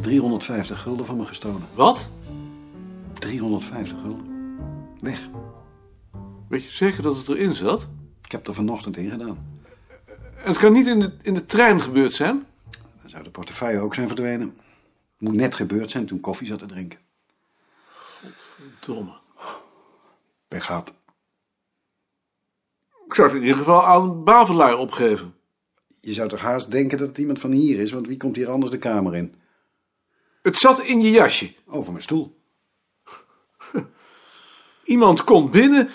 350 gulden van me gestolen. Wat? 350 gulden. Weg. Weet je zeker dat het erin zat? Ik heb er vanochtend in gedaan. En het kan niet in de, in de trein gebeurd zijn? Dan zou de portefeuille ook zijn verdwenen. Moet net gebeurd zijn toen koffie zat te drinken. Domme. Pech gehad. Ik zou het in ieder geval aan Bavelaar opgeven. Je zou toch haast denken dat het iemand van hier is, want wie komt hier anders de kamer in? Het zat in je jasje. Over mijn stoel. Iemand komt binnen,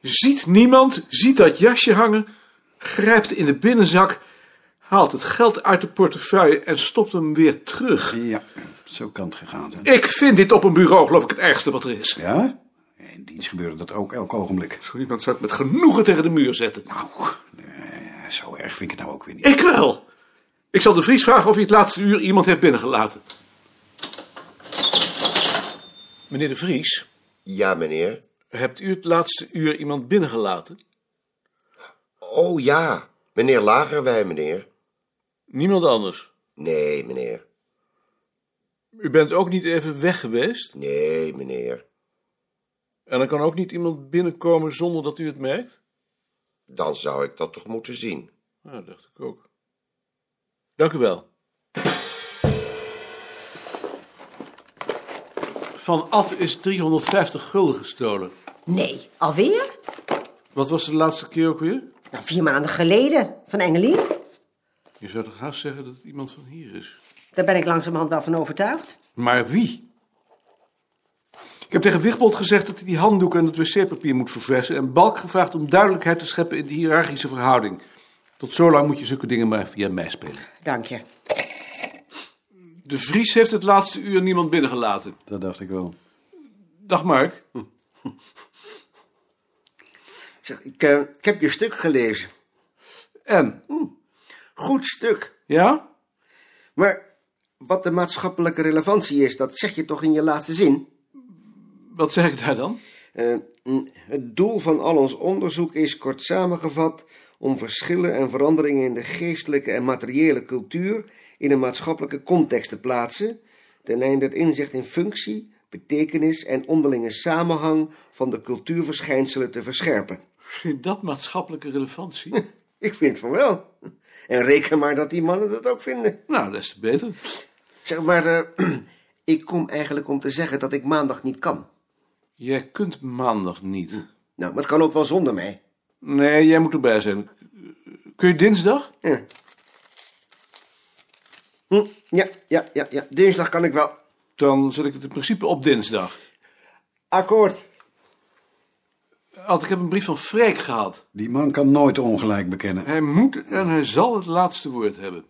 ziet niemand, ziet dat jasje hangen, grijpt in de binnenzak, haalt het geld uit de portefeuille en stopt hem weer terug. Ja, zo kan het gegaan zijn. Ik vind dit op een bureau, geloof ik, het ergste wat er is. Ja? In dienst gebeurde dat ook elk ogenblik. Zo iemand zou ik met genoegen tegen de muur zetten. Nou, nee, zo erg vind ik het nou ook weer niet. Ik wel. Ik zal de Vries vragen of hij het laatste uur iemand heeft binnengelaten. Meneer de Vries, Ja, meneer. hebt u het laatste uur iemand binnengelaten? Oh ja, meneer Lagerwij, meneer. Niemand anders. Nee, meneer. U bent ook niet even weg geweest. Nee, meneer. En er kan ook niet iemand binnenkomen zonder dat u het merkt? Dan zou ik dat toch moeten zien. Nou, dat dacht ik ook. Dank u wel. Van Ad is 350 gulden gestolen. Nee, alweer? Wat was de laatste keer ook weer? Nou, vier maanden geleden, van Engelien. Je zou toch haast zeggen dat het iemand van hier is. Daar ben ik langzamerhand wel van overtuigd. Maar wie? Ik heb tegen Wigbold gezegd dat hij die handdoeken en het wc-papier moet verversen... en Balk gevraagd om duidelijkheid te scheppen in de hiërarchische verhouding. Tot zolang moet je zulke dingen maar via mij spelen. Dank je. De Vries heeft het laatste uur niemand binnengelaten. Dat dacht ik wel. Dag Mark. Zeg, ik, eh, ik heb je stuk gelezen. En? Goed stuk. Ja? Maar wat de maatschappelijke relevantie is, dat zeg je toch in je laatste zin? Wat zeg ik daar dan? Eh, mm, het doel van al ons onderzoek is kort samengevat om verschillen en veranderingen in de geestelijke en materiële cultuur in een maatschappelijke context te plaatsen, ten einde het inzicht in functie, betekenis en onderlinge samenhang van de cultuurverschijnselen te verscherpen. Vind dat maatschappelijke relevantie? Ik vind van wel. En reken maar dat die mannen dat ook vinden. nou, des te beter. Zeg maar, eh, ik kom eigenlijk om te zeggen dat ik maandag niet kan. Jij kunt maandag niet. Nou, maar het kan ook wel zonder mij. Hm. Nee, jij moet erbij zijn. Kun je dinsdag? Ja. Hm, ja, ja, ja, ja. Dinsdag kan ik wel. Dan zet ik het in principe op dinsdag. Akkoord. Ad, ik heb een brief van Freek gehad. Die man kan nooit ongelijk bekennen. Hij moet en hij zal het laatste woord hebben.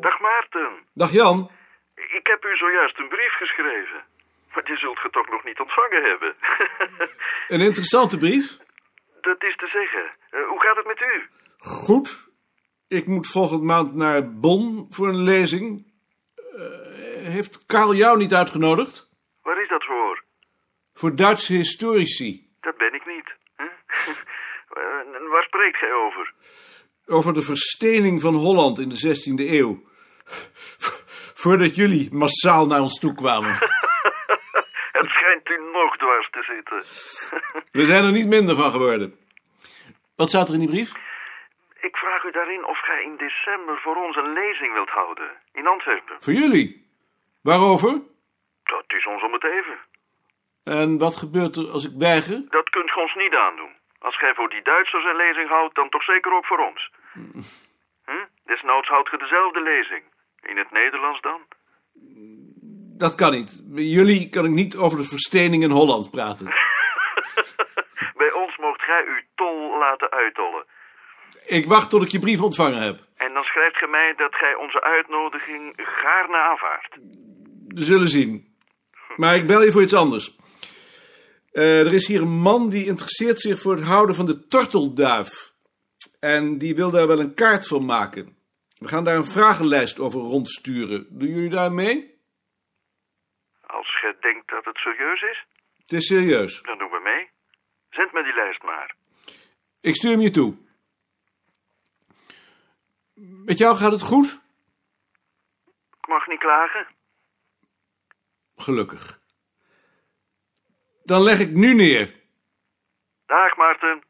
Dag Maarten, Dag Jan. ik heb u zojuist een brief geschreven. Maar je zult het ook nog niet ontvangen hebben. Een interessante brief. Dat is te zeggen. Eh, hoe gaat het met u? Goed. Ik moet volgende maand naar Bonn voor een lezing. Eh, heeft Karel jou niet uitgenodigd? Waar is dat voor? Voor Duitse historici. Dat ben ik niet. hè? Eh, en waar spreekt gij over? over de verstening van Holland in de 16e eeuw. Voordat jullie massaal naar ons toe kwamen. Het schijnt u nog dwars te zitten. We zijn er niet minder van geworden. Wat staat er in die brief? Ik vraag u daarin of gij in december voor ons een lezing wilt houden. In Antwerpen. Voor jullie. Waarover? Dat is ons om het even. En wat gebeurt er als ik weiger? Dat kunt gij ons niet aandoen. Als gij voor die Duitsers een lezing houdt, dan toch zeker ook voor ons. Hm? Desnoods houdt ge dezelfde lezing. In het Nederlands dan? Dat kan niet. Bij jullie kan ik niet over de verstening in Holland praten. Bij ons moogt gij uw tol laten uittollen. Ik wacht tot ik je brief ontvangen heb. En dan schrijft gij mij dat gij onze uitnodiging gaarne aanvaardt. We zullen zien. Maar ik bel je voor iets anders. Eh, er is hier een man die interesseert zich voor het houden van de tortelduif. En die wil daar wel een kaart van maken. We gaan daar een vragenlijst over rondsturen. Doen jullie daar mee? Als gij denkt dat het serieus is? Het is serieus. Dan doen we mee. Zend me die lijst maar. Ik stuur hem je toe. Met jou gaat het goed? Ik mag niet klagen. Gelukkig. Dan leg ik nu neer. Dag Maarten.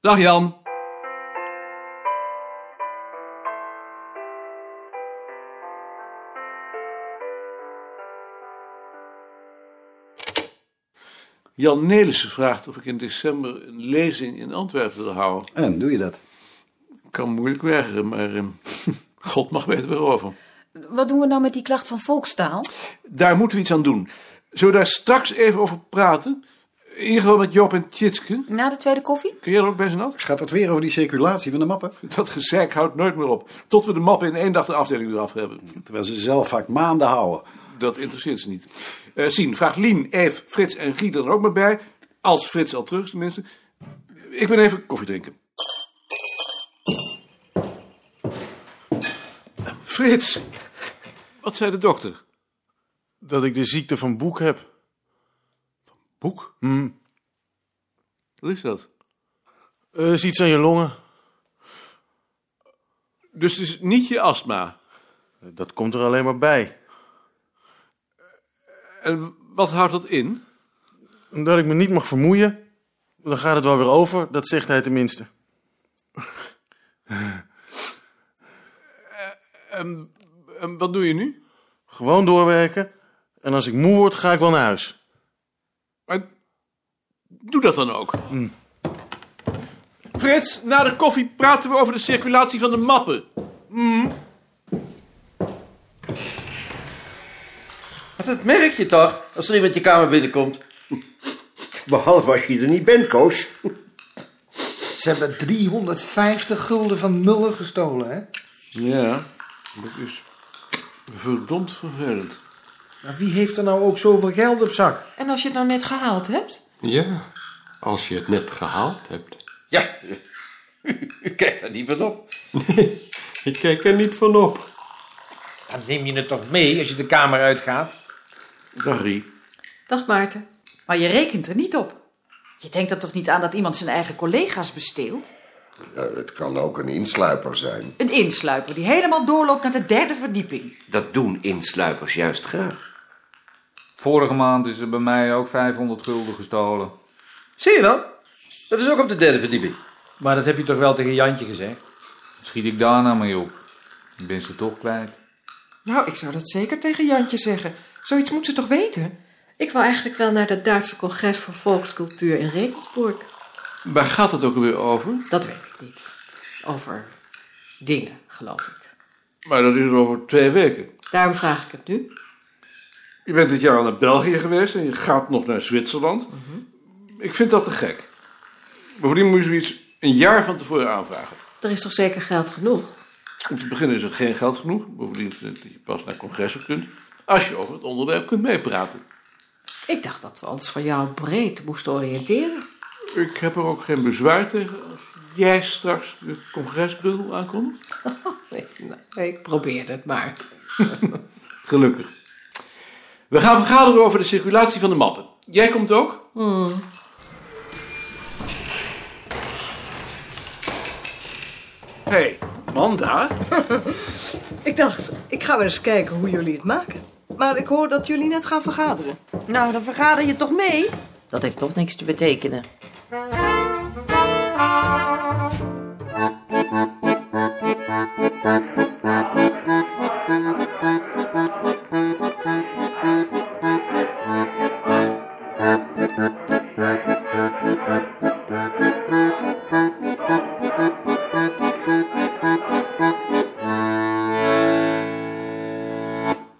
Dag Jan. Jan Nelissen vraagt of ik in december een lezing in Antwerpen wil houden. En doe je dat? Ik kan moeilijk weigeren, maar ehm, God mag weten waarover. Wat doen we nou met die klacht van volkstaal? Daar moeten we iets aan doen. Zullen we daar straks even over praten? In ieder geval met Job en Tjitske. Na de tweede koffie? Kun jij er ook bij zijn Gaat dat weer over die circulatie van de mappen? Dat gezeik houdt nooit meer op. Tot we de mappen in één dag de afdeling eraf hebben. Terwijl ze zelf vaak maanden houden. Dat interesseert ze niet. Eh Sien, vraag Lien, Eve, Frits en Guy er dan ook maar bij. Als Frits al terug is tenminste. Ik ben even koffie drinken. Frits, wat zei de dokter? Dat ik de ziekte van Boek heb. Hmm. Boek? Wat is dat? Eh is iets aan je longen. Dus het is niet je astma. Dat komt er alleen maar bij. En wat houdt dat in? Omdat ik me niet mag vermoeien, dan gaat het wel weer over. Dat zegt hij tenminste. En wat doe je nu? Gewoon doorwerken. En als ik moe word, ga ik wel naar huis. Maar doe dat dan ook. Frits, na de koffie praten we over de circulatie van de mappen. Dat merk je toch, als er iemand je kamer binnenkomt. Behalve als je er niet bent, Koos. Ze hebben 350 gulden van Muller gestolen, hè? Ja, dat is verdomd vervelend. Maar wie heeft er nou ook zoveel geld op zak? En als je het nou net gehaald hebt? Ja, als je het net gehaald hebt. Ja, u kijkt daar niet van op. Ik kijk er niet van op. Dan neem je het toch mee als je de kamer uitgaat? Dag Rie. Dag Maarten. Maar je rekent er niet op. Je denkt er toch niet aan dat iemand zijn eigen collega's besteelt? Eh, het kan ook een insluiper zijn. Een insluiper die helemaal doorloopt naar de derde verdieping. Dat doen insluipers juist graag. Vorige maand is er bij mij ook 500 gulden gestolen. Zie je wel? Dat is ook op de derde verdieping. Maar dat heb je toch wel tegen Jantje gezegd? Wat schiet ik daar nou mee op? Ik ben ze toch kwijt. Nou, ik zou dat zeker tegen Jantje zeggen. Zoiets moet ze toch weten? Ik wou eigenlijk wel naar dat Duitse congres voor volkscultuur in Regensburg. Waar gaat het ook weer over? Dat weet ik niet. Over dingen, geloof ik. Maar dat is over twee weken. Daarom vraag ik het nu. Je bent dit jaar al naar België geweest en je gaat nog naar Zwitserland. Ik vind dat te gek. Bovendien moet je zoiets een jaar van tevoren aanvragen. Er is toch zeker geld genoeg? Om te beginnen is er geen geld genoeg. Bovendien vind ik dat je pas naar congressen kunt. Als je over het onderwerp kunt meepraten. Ik dacht dat we ons van jou breed moesten oriënteren. Ik heb er ook geen bezwaar tegen als jij straks het congresbundel aankomt. nou, Ik probeerde het maar. Gelukkig. We gaan vergaderen over de circulatie van de mappen. Jij komt ook? Hmm. Hé, hey, Manda? Ik dacht, ik ga wel eens kijken hoe jullie het maken. Maar ik hoor dat jullie net gaan vergaderen. Nou, dan vergader je toch mee? Dat heeft toch niks te betekenen.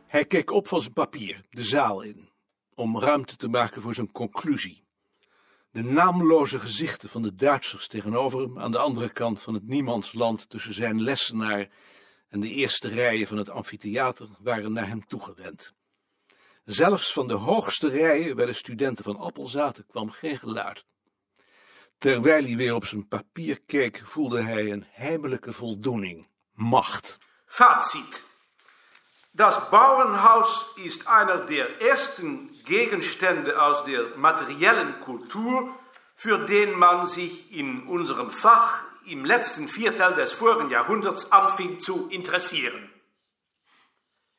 Hij keek op van zijn papier, de zaal in, om ruimte te maken voor zijn conclusie. De naamloze gezichten van de Duitsers tegenover hem aan de andere kant van het niemandsland tussen zijn lessenaar en de eerste rijen van het amfitheater waren naar hem toegewend. Zelfs van de hoogste rijen waar de studenten van Appel zaten kwam geen geluid. Terwijl hij weer op zijn papier keek, voelde hij een heimelijke voldoening, macht. Faatziet. Das Bauernhaus ist einer der ersten Gegenstände aus der materiellen Kultur, für den man sich in unserem Fach im letzten Viertel des vorigen Jahrhunderts anfing zu interessieren.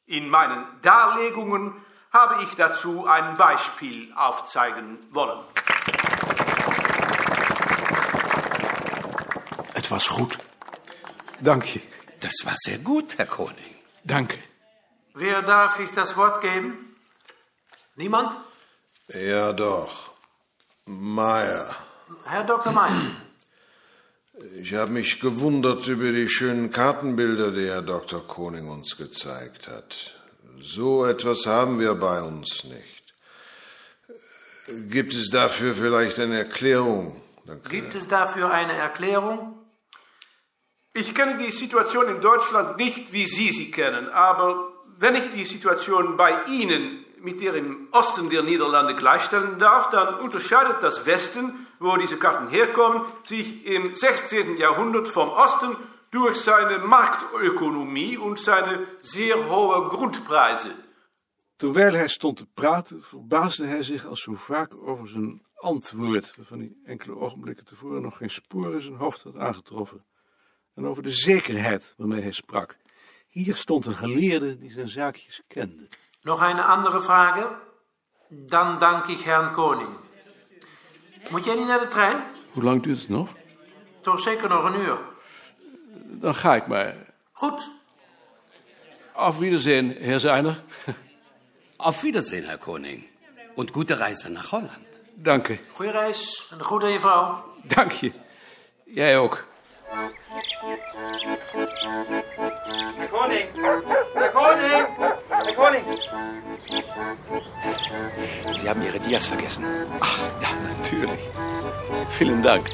In meinen Darlegungen habe ich dazu ein Beispiel aufzeigen wollen. Het was goed. Dank je. Das war sehr gut, Herr Koning. Danke. Wer darf ich das Wort geben? Niemand? Ja, doch. Meier. Herr Dr. May. Ich habe mich gewundert über die schönen Kartenbilder, die Herr Dr. Koning uns gezeigt hat. So etwas haben wir bei uns nicht. Gibt es dafür vielleicht eine Erklärung? Dann- Gibt es dafür eine Erklärung? Ich kenne die Situation in Deutschland nicht, wie Sie sie kennen, aber wenn ich die Situation bei Ihnen mit der im Osten der Niederlande gleichstellen darf, dann unterscheidet das Westen, wo diese Karten herkommen, sich im 16. Jahrhundert vom Osten durch seine Marktökonomie und seine sehr hohe Grundpreise. Terwijl hij stond te praten, verbaasde hij zich als zo vaak over zijn antwoord, waarvan hij enkele ogenblikken tevoren nog geen spoor in zijn hoofd had aangetroffen, en over de zekerheid waarmee hij sprak. Hier stond een geleerde die zijn zaakjes kende. Noch eine andere Frage? Dann danke ich Herrn Koning. Moet jij niet naar de trein? Hoe lang duurt het nog? Toch zeker nog een uur. Dan ga ik maar. Goed, Auf Wiedersehen, Herr Seiner. Auf Wiedersehen, Herr Koning. Und gute Reise nach Holland. Dank je. goede reis en een goede aan je vrouw. Dank je. Jij ook. Herr Koning! Herr Koning! Herr Koning! Sie haben Ihre Dias vergessen. Ach, ja, natürlich. Vielen Dank.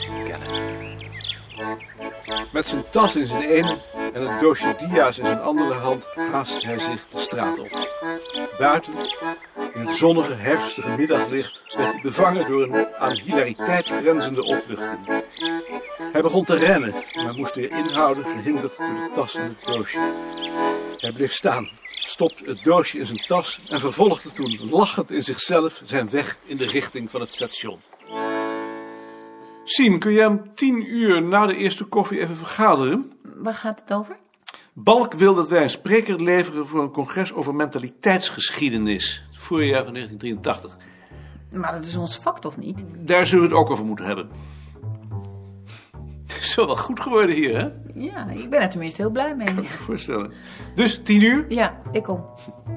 Met zijn tas in zijn ene en het doosje dia's in zijn andere hand haast hij zich de straat op. Buiten, in het zonnige, herfstige middaglicht, werd hij bevangen door een aan hilariteit grenzende opluchting. Hij begon te rennen, maar moest weer inhouden, gehinderd door de tas in het doosje. Hij bleef staan, stopte het doosje in zijn tas en vervolgde toen, lachend in zichzelf, zijn weg in de richting van het station. Sien, kun jij om tien uur na de eerste koffie even vergaderen? Waar gaat het over? Balk wil dat wij een spreker leveren voor een congres over mentaliteitsgeschiedenis. Het Voorjaar van 1983. Maar dat is ons vak toch niet? Daar zullen we het ook over moeten hebben. Het is wel wat goed geworden hier, hè? Kan Ja, ik ben er tenminste heel blij mee. ik me voorstellen. Dus tien uur? Ja, ik kom.